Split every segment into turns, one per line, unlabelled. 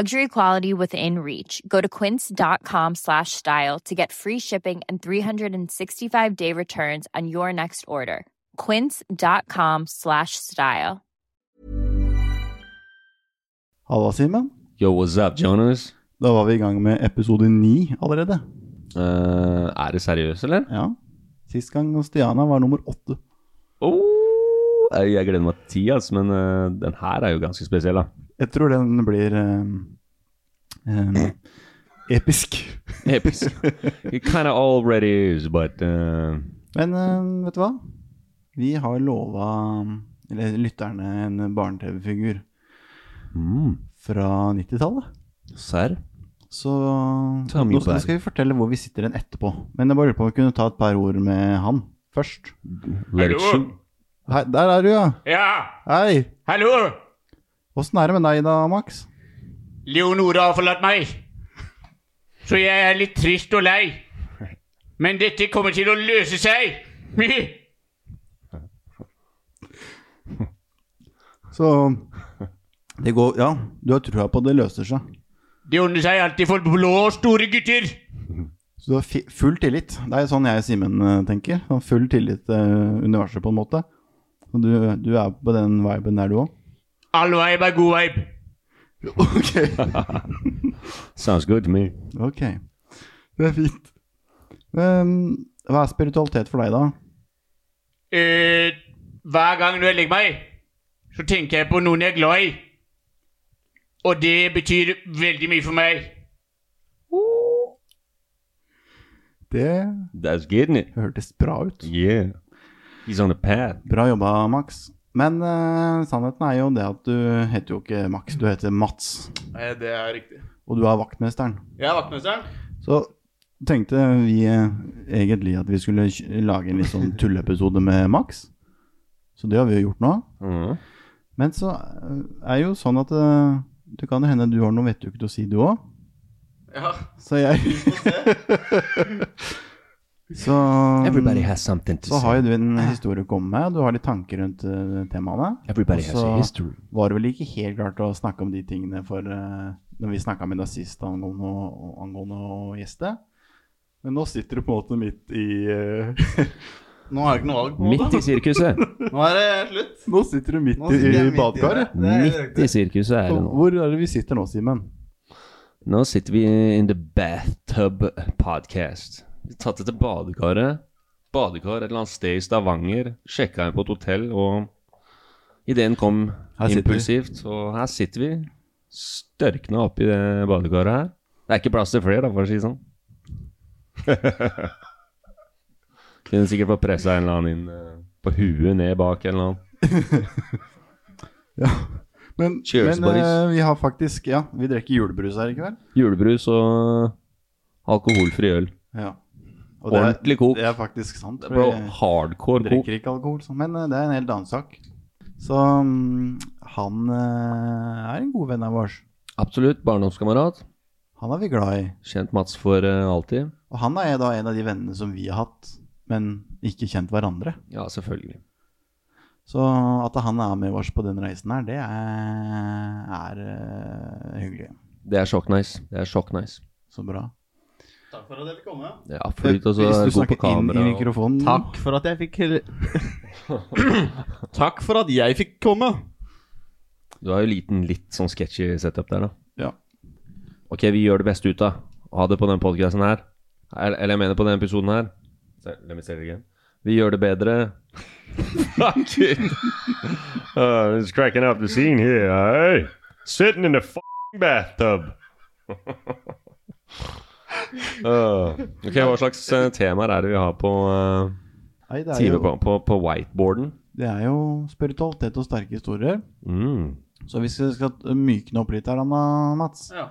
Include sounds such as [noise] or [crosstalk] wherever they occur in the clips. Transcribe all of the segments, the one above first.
Luxury quality within reach. Go to quince.com slash style to get free shipping and 365 day returns on your next order. Quince.com slash style.
Halla, Simen.
Yo, what's up, Jonas?
Da var vi i gang med episode ni allerede.
Eh, er du seriøs, eller?
Ja. Sist gang hos Stiana var nummer åtte.
Oh, jeg jeg gleder meg til ti, ass, men eh, den her er jo ganske spesiell, da.
Jeg tror den blir eh, eh, episk.
Episk. It kind of already is, but eh,
Men eh, vet du hva? Vi har lova eller lytterne en barne-TV-figur
mm,
fra 90-tallet.
Serr?
Så
Tell me
nå, nå
about it.
skal vi fortelle hvor vi sitter den etterpå. Men jeg bare lurer på om vi kunne ta et par ord med han først.
Let it shoot.
Hei, der er du, ja.
Ja,
Hei.
hallo!
Åssen er det med deg da, Max?
Leonora har forlatt meg. Så jeg er litt trist og lei. Men dette kommer til å løse seg. [laughs]
Så det går Ja, du har trua på at det løser seg.
Det ordner seg alltid for blå og store gutter.
Så du har fi- full tillit. Det er sånn jeg og Simen eh, tenker. Sånn Full tillit til universet, på en måte. Og du, du er på den viben der, du òg?
All vibe er god vibe.
Ok.
Sounds good to me.
ok. Det er fint. Ehm, hva er spiritualitet for deg, da?
Eh, hver gang når jeg legger meg, så tenker jeg på noen jeg er glad i. Og det betyr veldig mye for meg.
Det
That's getting it.
hørtes bra ut.
Yeah. He's on the path.
Bra jobba, Max. Men eh, sannheten er jo det at du heter jo ikke Max, du heter Mats.
Nei, det er riktig.
Og du er vaktmesteren.
Jeg er vaktmester.
Så tenkte vi eh, egentlig at vi skulle kj- lage en litt
[laughs]
sånn tulleepisode med Max. Så det har vi jo gjort nå.
Mhm.
Men så eh, er jo sånn at eh, det kan jo hende du har noe vettugt å si, du òg.
Ja.
Så jeg [laughs] Så, mm,
Everybody has something
Um,
to
så
say.
har jo du en historie å komme med, og du har litt tanker rundt eh, temaene.
Everybody has
Også-
a history.
Var det vel ikke helt klart å snakke om de tingene for eh, Når vi snakka med deg sist angående, å- angående å gjeste. Men nå sitter du på en måte midt i eh, [laughs]
Nå har jeg ikke noe valg. på en
Midt
måte.
i sirkuset.
Nå er det slutt.
Nå sitter du midt
Nå
i,
sitter jeg
i
midt i
badekaret.
det. Det er
Midt i sirkuset er det
Så
nå.
Hvor er det vi sitter nå, Simen?
Nå sitter vi in the bathtub podcast. Vi har tatt det til badekaret. Badekar et eller annet sted i Stavanger. Sjekka inn på et hotell, og ideen kom
Her sitter vi.
impulsivt. Og her sitter vi, størkna oppi det badekaret her. Det er ikke plass til flere, da, for å si
[laughs]
det sånn. Kunne sikkert fått pressa en eller annen inn eh, på huet ned bak en eller annen.
Men,
Cheers,
men eh,
boys.
vi har faktisk Ja, vi drikker julebrus her i kveld.
Julebrus og alkoholfri øl.
Ja. Og det er,
Ordentlig kok.
det er faktisk sant. for
Bro,
jeg
hardcore kok.
drikker ikke alkohol, sånn, men eh, det er en helt annen sak. Så mm, han eh, er en god venn av oss.
Absolutt. Barndomskamerat.
Han er vi glad i.
Kjent Mats for eh, alltid.
Og han er da en av de vennene som vi har hatt, men ikke kjent hverandre.
Ja, selvfølgelig.
Så at han er med oss på den reisen her, det er, er eh, hyggelig.
Det er sjokknice. Det er sjokknice.
Så bra.
Takk for at jeg fikk komme.
Ja, flyt og så
Eh, Hvis du
er det god på
snakker inn i
kamera. og-
mikrofonen
Takk for at jeg fikk Takk for at jeg fikk komme.
Du har jo liten, litt sånn sketchy setup der, da.
Ja.
Ok, vi gjør det beste ut av Ha det på den podcasten her. Eller eller jeg mener på den episoden her. Se, Let me say it again. Vi gjør det bedre. Fuck it. Uh, it's cracking up the scene here, hey? Sitting in the f***ing [laughs] bathtub. uh, ok, hva slags eh, temaer er det vi har på, eh,
Nei, det, er
time
jo,
på, på, på whiteboarden?
det er jo spiritualitet og sterke historier.
Mm.
Så hvis vi skal mykne opp litt her, Anna Mats
Ja.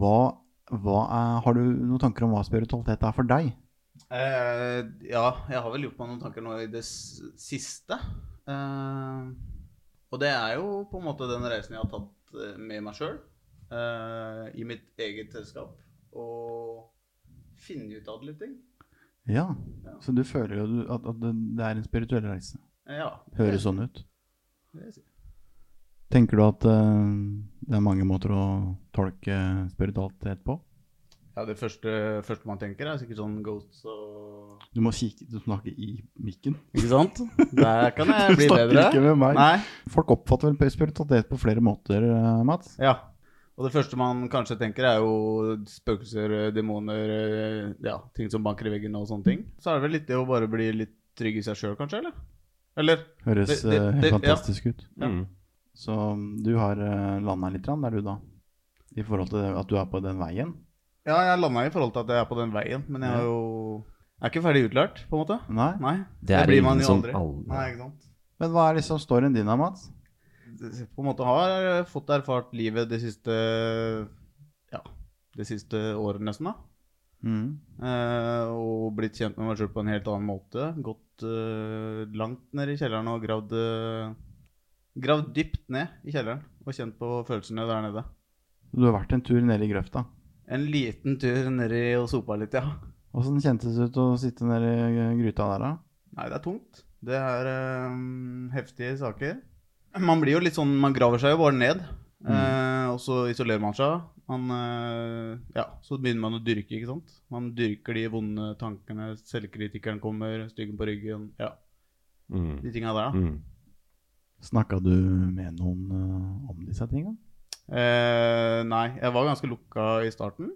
hva, hva er, Har du noen tanker om hva spiritualitet er for deg?
Eh, ja, jeg har vel gjort meg noen tanker nå i det s- siste. Eh, og det er jo på en måte den reisen jeg har tatt eh, med meg sjøl, eh, i mitt eget selskap, og finne ut av litt ting.
Ja. Så du føler jo du- at, at det det er en spirituell reise.
Eh, ja.
Høres sånn ut.
Det vil jeg si.
Tenker du at eh, det er mange måter å tolke spiritualitet på?
Ja, det første, første man tenker, er sikkert sånn ghosts og
Du må kikke, du snakker i
[laughs]
mikken.
Ikke sant? Der kan jeg bli
Snakker
bedre.
ikke med meg.
Nei.
Folk oppfatter vel spiritualitet på flere måter, eh, Mats.
Ja. Og det første man kanskje tenker, er jo spøkelser, eh, demoner, eh, ja, ting som banker i veggen og sånne ting. Så er det vel litt det å bare bli litt trygg i seg sjøl, kanskje? Eller? Eller?
Høres
Det-
eh,
det- det-
helt
ja.
fantastisk ut.
Ja.
Mm.
Så mm, du har uh, landa litt grann der, du, da? I forhold til at du er på den veien?
Ja, jeg landa i forhold til at jeg er på den veien, men jeg er jo jeg er ikke ferdig utlært, på en måte.
Nei?
Nei.
Det er
blir
ingen
man jo
som
aldri.
aldri-
Nei, ikke sant?
Men hva er liksom storyen din da, Mats?
På en måte har jeg fått erfart livet de siste ja, det siste året, nesten. da.
Mm.
Eh, og blitt kjent med meg sjøl på en helt annen måte. Gått eh, langt ned i kjelleren og gravd eh, Gravd dypt ned i kjelleren og kjent på følelsene der nede.
Du har vært en tur nede i grøfta.
En liten tur nedi og sopa litt, ja.
Åssen kjentes det ut å sitte nede i eh, gryta der, da?
Nei, det er tungt. Det er eh, heftige saker. Man blir jo litt sånn Man graver seg jo bare ned. eh, og så isolerer man seg. Man, eh, ja, så begynner man å dyrke, ikke sant. Man dyrker de vonde tankene. Selvkritikeren kommer, styggen på ryggen. Ja,
Mm.
de tinga der, da.
Mm.
Snakka du med noen eh, om disse tinga?
Eh, nei, jeg var ganske lukka i starten.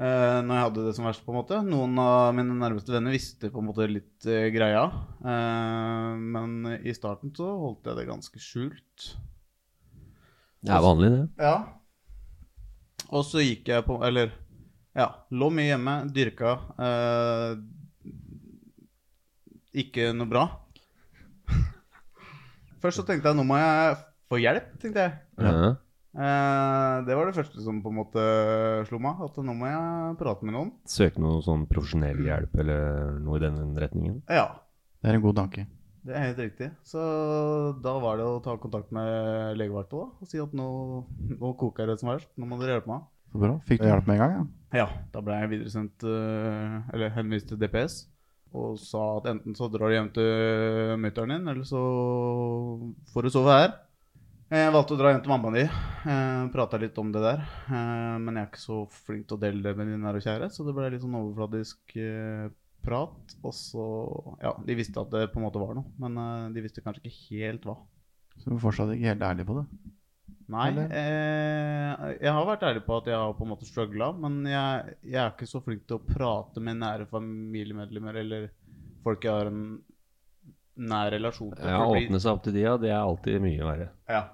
Eh, når jeg hadde det som verst, på en måte. Noen av mine nærmeste venner visste på en måte litt eh, greia. Eh, men i starten så holdt jeg det ganske skjult.
Det er vanlig, det.
Ja. Og så gikk jeg på Eller ja, lå mye hjemme, dyrka. Eh, ikke noe bra. [laughs] Først så tenkte jeg nå må jeg få hjelp, tenkte jeg.
Ja.
Eh, det var det første som på en måte slo meg. At nå må jeg prate med noen.
Søke noe sånn profesjonell hjelp eller noe i den retningen.
Ja,
Det er en god tanke.
det er helt riktig. Så da var det å ta kontakt med legevakta da, og si at nå, nå koker det som verst. Nå må dere hjelpe meg.
Så bra. Fikk du hjelp med en gang? Ja?
Ja, da ble jeg videresendt eh, Eller henvist til DPS. Og sa at enten så drar du hjem til mutter'n din, eller så får du sove her. Eh, Jeg valgte å dra hjem til mammaen din. Eh, Prata litt om det der. Eh, men jeg er ikke så flink til å dele det med de nære og kjære, så det ble litt sånn overfladisk eh, prat. Og så Ja, de visste at det på en måte var noe, men eh, de visste kanskje ikke helt hva.
Så du er fortsatt ikke helt ærlig på det?
Nei,
Eller?
eh, jeg har vært ærlig på at jeg har på en måte struggla, men jeg, jeg er ikke så flink til å prate med nære familiemedlemmer eller folk jeg har en nær relasjon til.
Ja,
for det blir-
Åpne seg opp til de, ja. Det er alltid mye verre.
ja,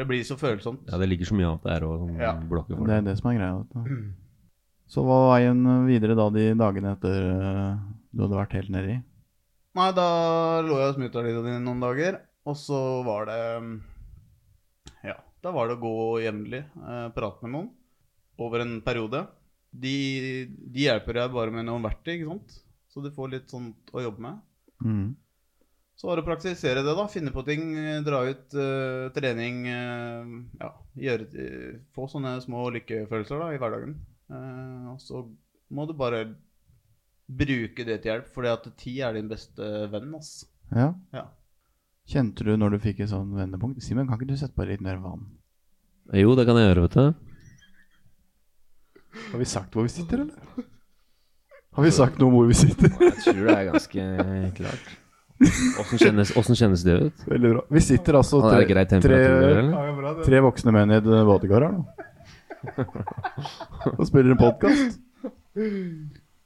det blir så følsomt.
Ja, Det ligger så mye annet der og sånn
Ja.
blokker for
Det
det.
er det som er greia. vet du. [clears throat] Så hva var veien videre da de dagene etter eh, du hadde vært helt nedi?
Nei, da lå jeg hos mutter'n i noen dager, og så var det mm, Ja, da var det å gå jevnlig, eh, prate med noen over en periode. De, de
Mm.
hjelper deg bare med noen verktøy, ikke sant? Så du får litt sånt å jobbe med. Så var det å praktisere det, da. Finne på ting, eh, dra ut eh, trening. eh, ja, gjøre, eh, få sånne små lykkefølelser da, i hverdagen. Eh, og så må du bare bruke det til hjelp, fordi at tid er din beste venn. ass.
Ja.
Ja.
Kjente du når du fikk et sånn vendepunkt? Simen, kan ikke du sette på litt mer vann?
Jo, det kan jeg gjøre, vet du.
Har vi sagt hvor vi sitter, eller? Har vi sagt noe om hvor vi sitter?
Jeg tror det er ganske klart. Åssen kjennes, hvordan kjennes det ut?
Veldig bra. Vi sitter altså
Er det grei temperatur,
tre,
eller?
tre voksne menn i et badekar
[laughs]
her nå. Og spiller en podkast.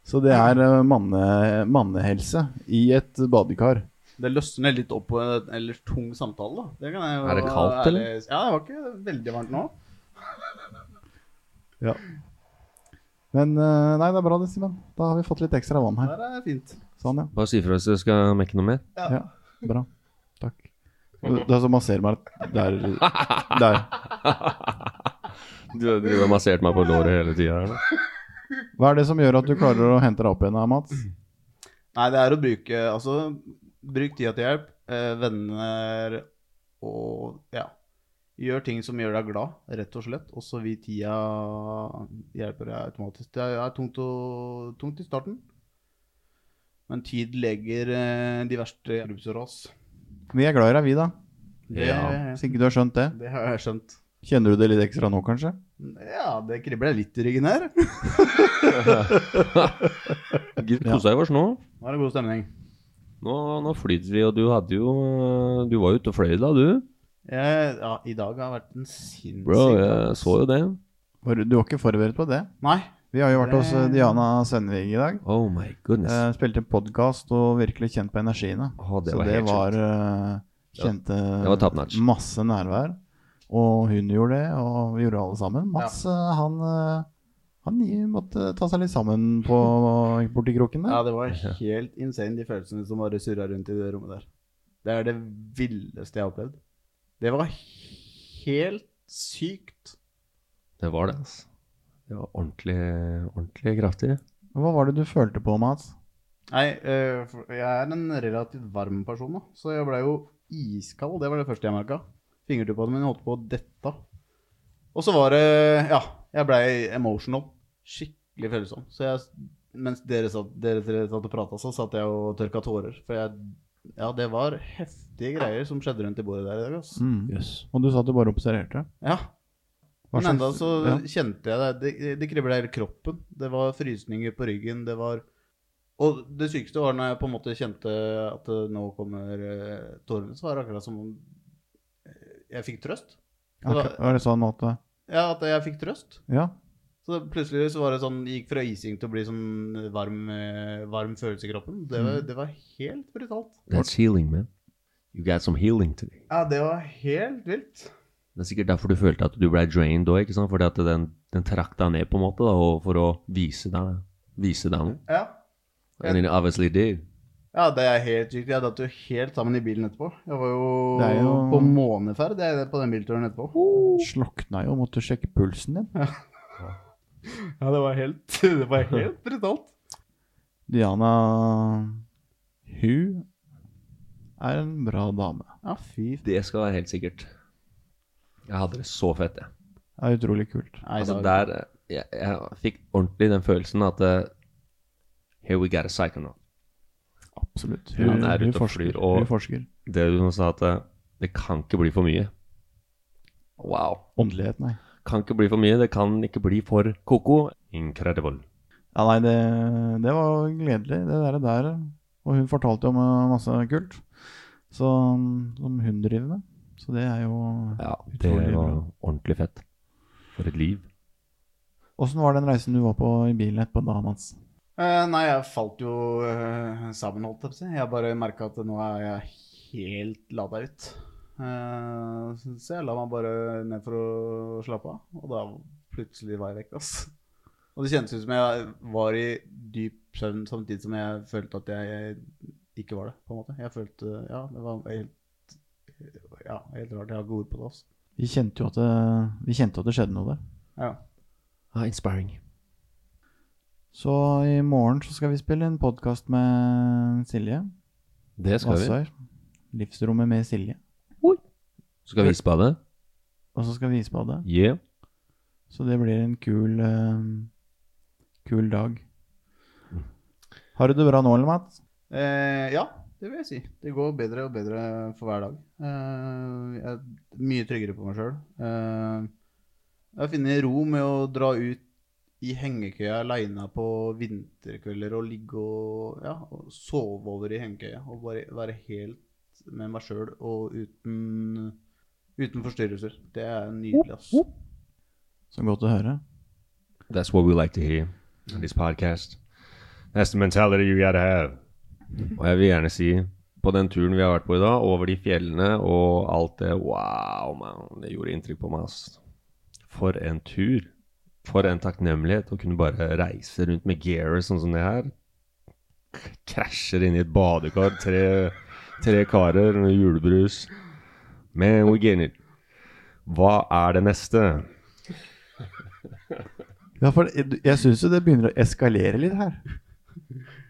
Så det er eh, manne, mannehelse i et badekar.
Det løsner litt opp på en ellers tung samtale. da. Det kan jeg jo
Er det kaldt,
være-
eller?
Ja, det var ikke veldig varmt nå.
Men eh, nei, det er bra det, Simen. Da har vi fått litt ekstra vann her.
Der er det fint.
Sånn, ja.
Bare si ifra hvis du skal mekke noe mer.
Ja, bra. Takk. Det det er som masserer meg der, der.
Du har drevet og massert meg på låret hele tida her nå.
Hva er det som gjør at du klarer å hente deg opp igjen, da, Mats?
Nei, det er å bruke Altså, bruk tida til hjelp. Eh, venner og Ja. Gjør ting som gjør deg glad, rett og slett. Og så vil tida hjelpe deg automatisk. Det er tungt, å, tungt i starten. Men tid legger eh, de verste grubser oss.
Vi er glad i deg, vi, da.
Det,
Ja.
Hvis ikke du har skjønt det.
det har jeg skjønt.
Kjenner du det litt ekstra nå, kanskje?
Ja, det kribler litt i ryggen her.
Gud, kosa deg vårs nå.
Nå er det god stemning.
nå. Nå flyter vi, og du hadde jo øh, Du var jo ute og fløy da, du.
Jeg, ja, I dag har vært en sinnssyk
Bro,
dag,
jeg
ass.
så jo det.
Var Du du var ikke forberedt på det?
Nei.
Vi har jo vært hos eh, Diana Sennevig i dag.
Oh my goodness.
Eh, Spilte podkast og virkelig kjent på energiene.
Å, det
Så
var
det
helt
var eh,
Ja.
Kjente
Det var top notch.
masse nærvær. Og hun gjorde det, og vi gjorde alle sammen. Mats, eh, han eh, han i- måtte ta seg litt sammen på [laughs] borti kroken
Ja,
der.
det var helt insane, de følelsene som bare surra rundt i det rommet der. Det er det villeste jeg har opplevd. Det var helt sykt.
Det var det, altså. Det var ordentlig, ordentlig kraftig.
Hva var det du følte på, Mats?
Nei, eh, for- jeg er en relativt varm person, da, så jeg blei jo iskald. Det var det første jeg merka. Fingertuppene mine holdt på å dette. Og så var det Ja, jeg blei emotional. Skikkelig følsom. Så jeg, mens dere satt, dere tre satt og prata, så satt jeg og tørka tårer. For jeg Ja, det var heftige greier som skjedde rundt i bordet der i dag, ass.
Mm. Og du sa at du bare observerte.
Ja.
Hva
Men enda
slags-
så
ja.
kjente jeg det. Det, det kribla i hele kroppen. Det var frysninger på ryggen. Det var Og det sykeste var når jeg på en måte kjente at det nå kommer eh, tårene, så var det akkurat som om eh, jeg fikk trøst. Det var,
Akkurat- Var det sånn at eh,
ja, at jeg fikk trøst.
Ja.
Så det, plutselig så var det sånn Gikk fra ising til å bli sånn varm, eh, varm følelse i kroppen. Det var,
Mm.
det var helt brutalt.
That's healing, man. You got some healing today.
Ja, det var helt vilt.
Det er sikkert derfor du følte at du ble drained òg, ikke sant? Fordi at den, den trakk deg ned på en måte, da, og for å vise deg, vise deg noe.
Ja.
And it obviously did.
Ja, det er helt sykt. Jeg datt jo helt sammen i bilen etterpå. Jeg var jo,
Det er jo-
på måneferd jeg, på den bilturen etterpå.
Slokna jo, måtte sjekke pulsen din.
Ja, det var helt, [laughs] det var helt brutalt.
Diana Hu er en bra dame.
Ja, fy
Det skal være helt sikkert. Jeg hadde det så fett, jeg.
Det er utrolig kult.
Nei,
Altså,
da-
der eh, jeg, jeg fikk ordentlig den følelsen at eh, Here we got a psychonaut.
Absolutt.
Ja, det er ute og flyr, og-
hun forsker.
Det du nå sa, at eh, det kan ikke bli for mye. Wow.
Åndelighet, nei.
Kan ikke bli for mye. Det kan ikke bli for koko. Incredible.
Ja, nei, det, det var gledelig, det der. der. Og hun fortalte jo om eh, masse kult så, som hun driver med. Så det er jo
Ja, det
Utrolig
var
bra.
ordentlig fett. For et liv.
Åssen var den reisen du var på i bilen etterpå da, Mats?
Eh, nei, jeg falt jo eh, sammen, holdt jeg på å si. Jeg bare merka at nå er jeg helt lada ut. Eh, så jeg la meg bare ned for å slappe av, og da plutselig var jeg vekk, ass. Og det kjentes ut som jeg var i dyp søvn samtidig som jeg følte at jeg ikke var det, på en måte. Jeg følte Ja, det var helt Ja, helt rart. Jeg har ikke ord på det, ass.
Vi kjente jo at det, vi kjente at det skjedde noe der.
Ja.
Ah, inspiring.
Så i morgen så skal vi spille en podkast med Silje
Det skal vi.
Vassøy. Livsrommet med Silje.
Skal vi spade?
Og så skal vi isbade.
Yeah.
Så det blir en kul eh, Kul dag. Har du det bra nå, eller, Mats?
Eh, ja, det vil jeg si. Det går bedre og bedre for hver dag. Eh, jeg er mye tryggere på meg sjøl. Eh, jeg har funnet ro med å dra ut i hengekøya aleine på vinterkvelder og ligge og, ja, og sove over i hengekøya. Og bare være helt med meg sjøl og uten, uten forstyrrelser. Det er nydelig, ass.
Så godt å høre.
That's what we like to hear on this podcast. That's the mentality you gotta have. Og jeg vil gjerne si, på den turen vi har vært på i dag, over de fjellene og alt det Wow, man, det gjorde inntrykk på meg, ass. For en tur. For en takknemlighet å kunne bare reise rundt med gearer sånn som det her. K- Krasjer inn i et badekar, tre, tre karer med julebrus. Man, we get it. Hva er det neste?
Ja, for jeg jeg syns jo det begynner å eskalere litt her.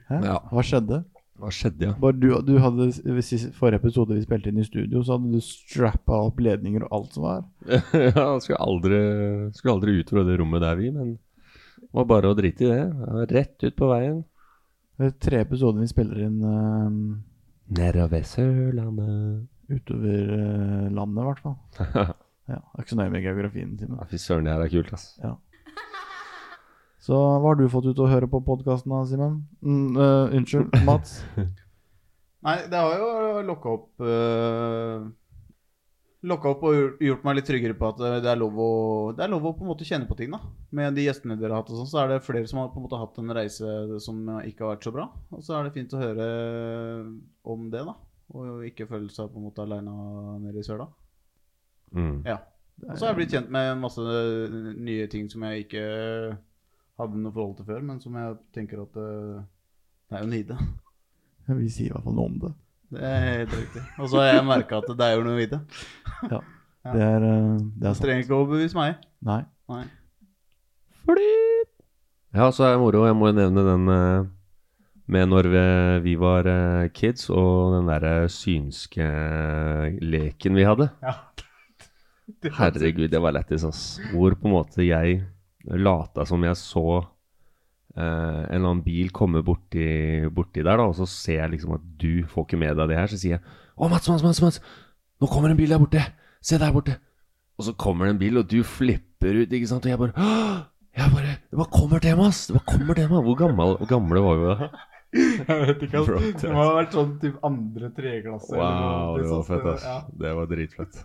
Hæ?
Ja.
Hva skjedde?
Hva skjedde, ja?
Bare du, du hadde, ved sist- Forrige episode vi spilte inn i studio, så hadde du strappa opp ledninger og alt som var.
[laughs] ja, skulle aldri, skulle aldri ut fra det rommet der, vi, men det var bare å drite i det. Det var Rett ut på veien.
Det er tre episoder vi spiller inn eh,
Nedover Sørlandet.
utover eh, landet, i hvert
[laughs]
fall. Ja, jeg er ikke så nøye med geografien. Simen.
Ja, Fy søren, det her er kult, ass.
Så hva har du fått ut å høre på podkasten da, Simen? Mm, eh, unnskyld,
[laughs]
Mats.
Nei, det har jo lokka opp øh, Lokka opp og gjort- gjort meg litt tryggere på at øh, det er lov å, det er lov å på en måte kjenne på ting. da. Med de gjestene dere har hatt, og sånn, så er det flere som har på en måte hatt en reise som ikke har vært så bra. Og så er det fint å høre eh, om det, da. Og ikke føle seg på en måte aleine nede i søla.
Mm.
Ja. Og så har jeg blitt kjent med en masse eh, nye ting som jeg ikke hadde noe forhold til før, men som jeg tenker at øh, det er jo nide.
Ja, Vi sier i hvert fall noe om det.
Det er helt riktig. Og så har jeg merka at det er jo noe i det. Ja.
Det er, eh, det er
Du trenger
sant.
ikke å overbevise meg.
Nei.
Nei.
Ja, så er det moro. Jeg må jo nevne den eh, med når vi, vi var eh, kids, og den derre synske eh, leken vi hadde.
Ja.
Herregud, det var lættis, ass. Hvor på en måte jeg lata som jeg så eh, en eller annen bil komme borti, borti der, da, og så ser jeg liksom at du får ikke med deg det her. Så sier jeg Å, Mats, Mats, Mats, Mats! Nå kommer en bil der borte! Se der borte! Og så kommer det en bil, og du flipper ut, ikke sant? Og jeg bare «Åh!» jeg bare, Det bare kommer til meg, ass! Det bare kommer til meg! Hvor gammel, hvor gamle var vi da?
Jeg vet ikke,
Bro,
ass. Det må ha vært sånn typ andre tredjeklasse.
Wow, det
sånn
var fett, ass.
Ja,
Det var dritfett.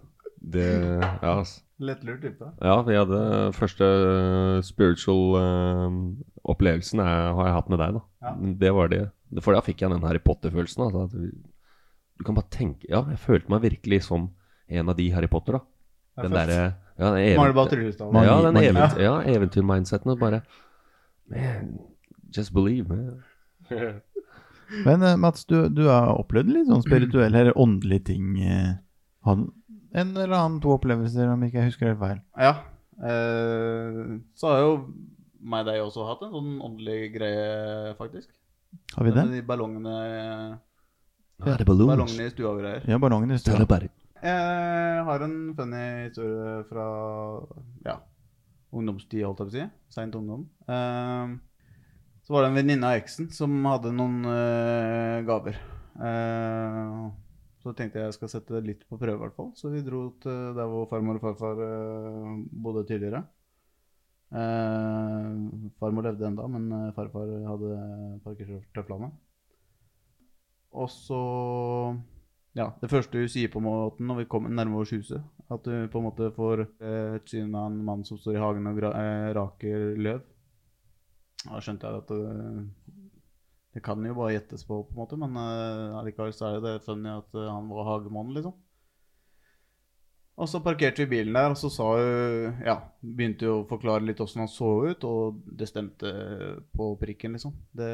Det Ja, ass.
Lettlurt type.
Ja, vi hadde første eh, spiritual eh, opplevelsen er, har jeg hatt med deg, da.
Ja.
Det var det. For da fikk jeg den Harry Potter-følelsen. Altså, at du, du kan bare tenke Ja, jeg følte meg virkelig som en av de Harry Potter, da. Den derre ja, den
Mangler bare
event-
tryllestav.
ja, den
Magi.
event- ja, eventyrmindseten. og Bare Man, just believe, man.
Men eh, Mats, du, du har opplevd litt sånn spirituelle eller åndelige ting. eh, han, en eller annen to opplevelser, om ikke jeg husker helt feil.
Ja. Eh, så har jo meg og deg også hatt en sånn åndelig greie, faktisk.
Har vi det?
Med De ballongene,
Ja, det er ballons.
ballongene i stua og greier.
Ja, ballongen i
Tell
stua.
about it.
Jeg har en funny historie fra ja, ungdomstid, holdt jeg på å si. Seint ungdom. Eh, så var det en venninne av eksen som hadde noen eh, gaver. Eh, så tenkte jeg jeg skal sette det litt på prøve, i hvert fall. Så vi dro til der hvor farmor og farfar eh, bodde tidligere. Eh, farmor levde ennå, men eh, farfar hadde parkert tøflene. Og så ja, det første hun sier på en måte når vi kommer nærmere oss huset, at du på en måte får eh, et syn av en mann som står i hagen og gra eh, raker løv. Da skjønte jeg at eh, det kan jo bare gjettes på, på en måte, men eh, allikevel så er det det funny at eh, han var hagemann, liksom. Og så parkerte vi bilen der, og så sa hun Ja, begynte jo å forklare litt åssen han så ut, og det stemte på prikken, liksom. Det,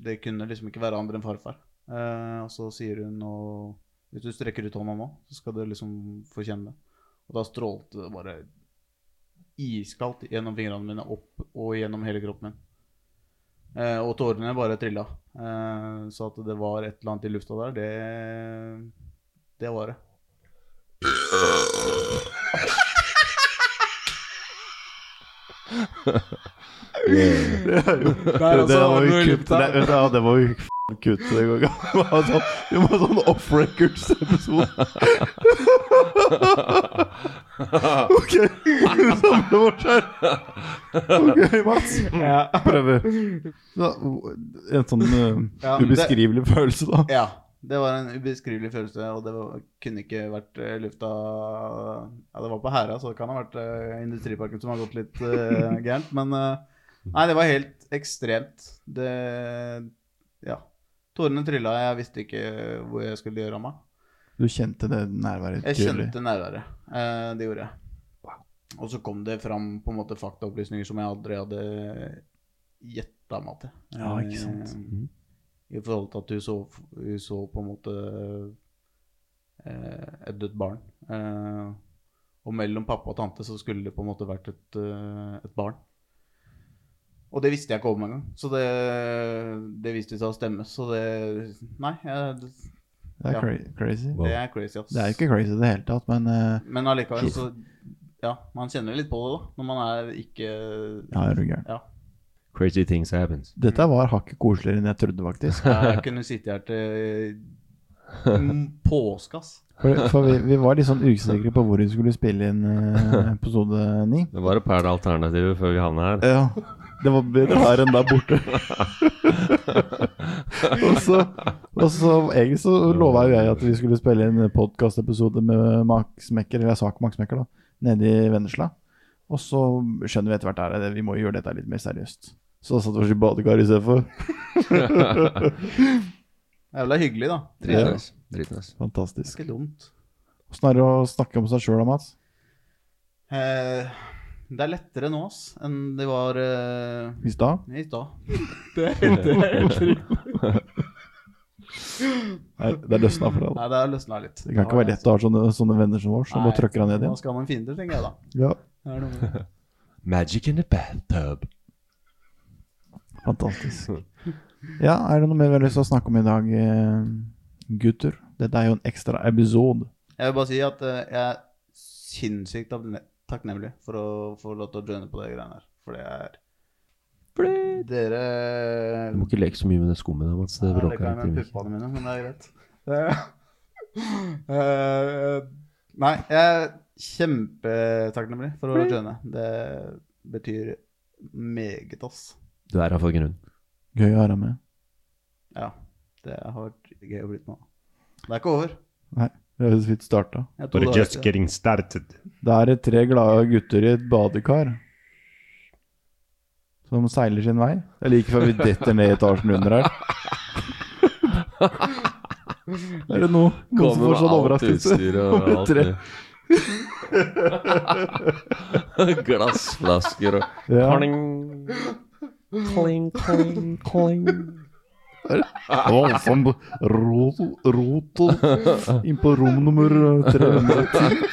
det kunne liksom ikke være andre enn farfar. Eh, og så sier hun nå Hvis du strekker ut hånda nå, så skal du liksom få kjenne det. Og da strålte det bare iskaldt gjennom fingrene mine opp og gjennom hele kroppen min. Eh, og tårene bare trilla. Eh, så at det var et eller annet i lufta der, det, det var det. [laughs] Der, altså,
det var
noe i
jo kutt.
lufta.
Det, vet du, ja, det var jo f***ing kutt. Det går ikke an. Det var sånn, det var sånn off records-episode. [laughs] ok, vi samler vårt her. Ok, Mats. Prøver. Så, en sånn eh,
Ja, men det-
ubeskrivelig følelse, da. [laughs]
Ja. Det var en ubeskrivelig følelse, og det var, kunne ikke vært eh, lufta Ja, det var på Hæra, så det kan ha vært eh, Industriparken som har gått litt eh, gærent, men eh, Nei, det var helt ekstremt. Det Ja. Tårene trilla, jeg visste ikke hvor jeg skulle gjøre av meg.
Du kjente det nærværet
Jeg
tydelig.
kjente nærværet. Eh, det gjorde jeg. Og så kom det fram på en måte faktaopplysninger som jeg aldri hadde gjetta meg til.
Ja, ikke sant. Mhm.
Eh, I forhold til at hun så, hun så på en måte eh, et dødt barn. Eh, og mellom pappa og tante så skulle det på en måte vært et, eh, et barn. Og det visste jeg ikke om engang. Så det, det viste seg å stemme. Så det Nei, jeg,
Det er
Ja.
cra- crazy.
det er crazy, ass.
Det er jo ikke crazy i det hele tatt, men eh,
Men allikevel så Ja, man kjenner litt på det da når man er ikke
ja, er du gæren.
Ja.
Crazy things happens.
Dette var hakket koseligere enn jeg trodde, faktisk. [laughs]
Jeg kunne sitte her til mm, påske, ass.
For, for vi, vi var litt sånn usikre på hvor vi skulle spille inn eh, episode ni.
Det var et par alternativer før vi havna her.
Ja. Det var bedre her enn der borte. og, så, og så egentlig så lova jo jeg at vi skulle spille inn en podkastepisode med Max Mekker, eller Sak Max Mekker, da, nede i Vennesla. Og så skjønner vi etter hvert at vi må gjøre dette litt mer seriøst. Så da satt vi oss i badekar istedenfor.
Det er vel hyggelig, da.
Dritnice. Dritnice.
Fantastisk.
Ganske dumt.
Åssen er det å snakke om seg sjøl da, Mats?
Eh, det er lettere nå, ass, enn det var eh,
I stad?
i stad.
Nei, Det er løsna for deg. da.
Nei, det har løsna litt.
Det kan ikke være lett å ha sånne, sånne venner som vår som bare trykker deg ned
Nå
igjen.
skal man finne det, tenker jeg da.
Ja,
Det er noe med det.
Magic in the bathtub.
Fantastisk.
[laughs]
Ja, er det noe mer vi har lyst til å snakke om i dag, eh, gutter? Dette er jo en ekstra episode.
Jeg vil bare si at eh, jeg er sinnssykt takkne- takknemlig for å få lov til å joine på de greiene her. For det er Dere
Du må ikke leke så mye med det skummet der, Mats. Det
Ja, det
bråker
kan jeg
litt. i
med
mikken.
puppene mine, men det er greit. Det- Eh, [laughs] nei, jeg er kjempetakknemlig for å joine. Det betyr meget, ass.
Du er her for grunn.
Gøy å ha deg med.
Ja, det har vært gøy å bli med. Det er ikke over.
Vi har jo så vidt starta.
Jeg tror det er ikke.
getting started.
Da er det tre glade gutter i et badekar som seiler sin vei. Det er like før vi detter ned i etasjen under
[laughs]
her. Er det noe, noe som får
Kommer
sånn
med alt
overraskelse?
utstyr og
Kommer [laughs]
alt
tre.
det. [laughs] Glassflasker og
Ja.
Kling, kling, kling, kling.
Å, sånn rot, rot og- inn på rom nummer eh, 310.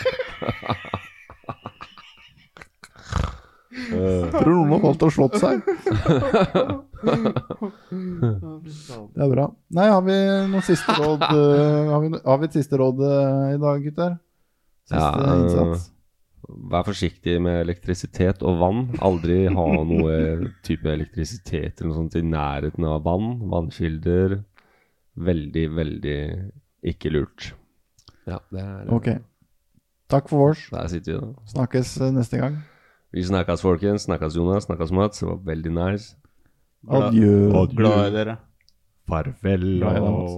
Eh,
Tror noen har valgt å slått seg. Det er bra. Nei, har vi noen siste råd eh, Har vi, no- har vi et siste råd eh, i dag, gutter? Siste
Ja, eh,
innsats.
Vær forsiktig med elektrisitet og vann. Aldri ha noe type elektrisitet eller noe sånt i nærheten av vann. Vannkilder. Veldig, veldig ikke lurt. Ja, det er
Ok. Takk for vårs.
Der sitter vi, da.
Snakkes eh, neste gang.
Vi snakkes, folkens. Snakkes, Jonas. Snakkes, Mats. Det var veldig nice.
Adjø.
Glad i dere.
Farvel.
Glad i deg, Mats.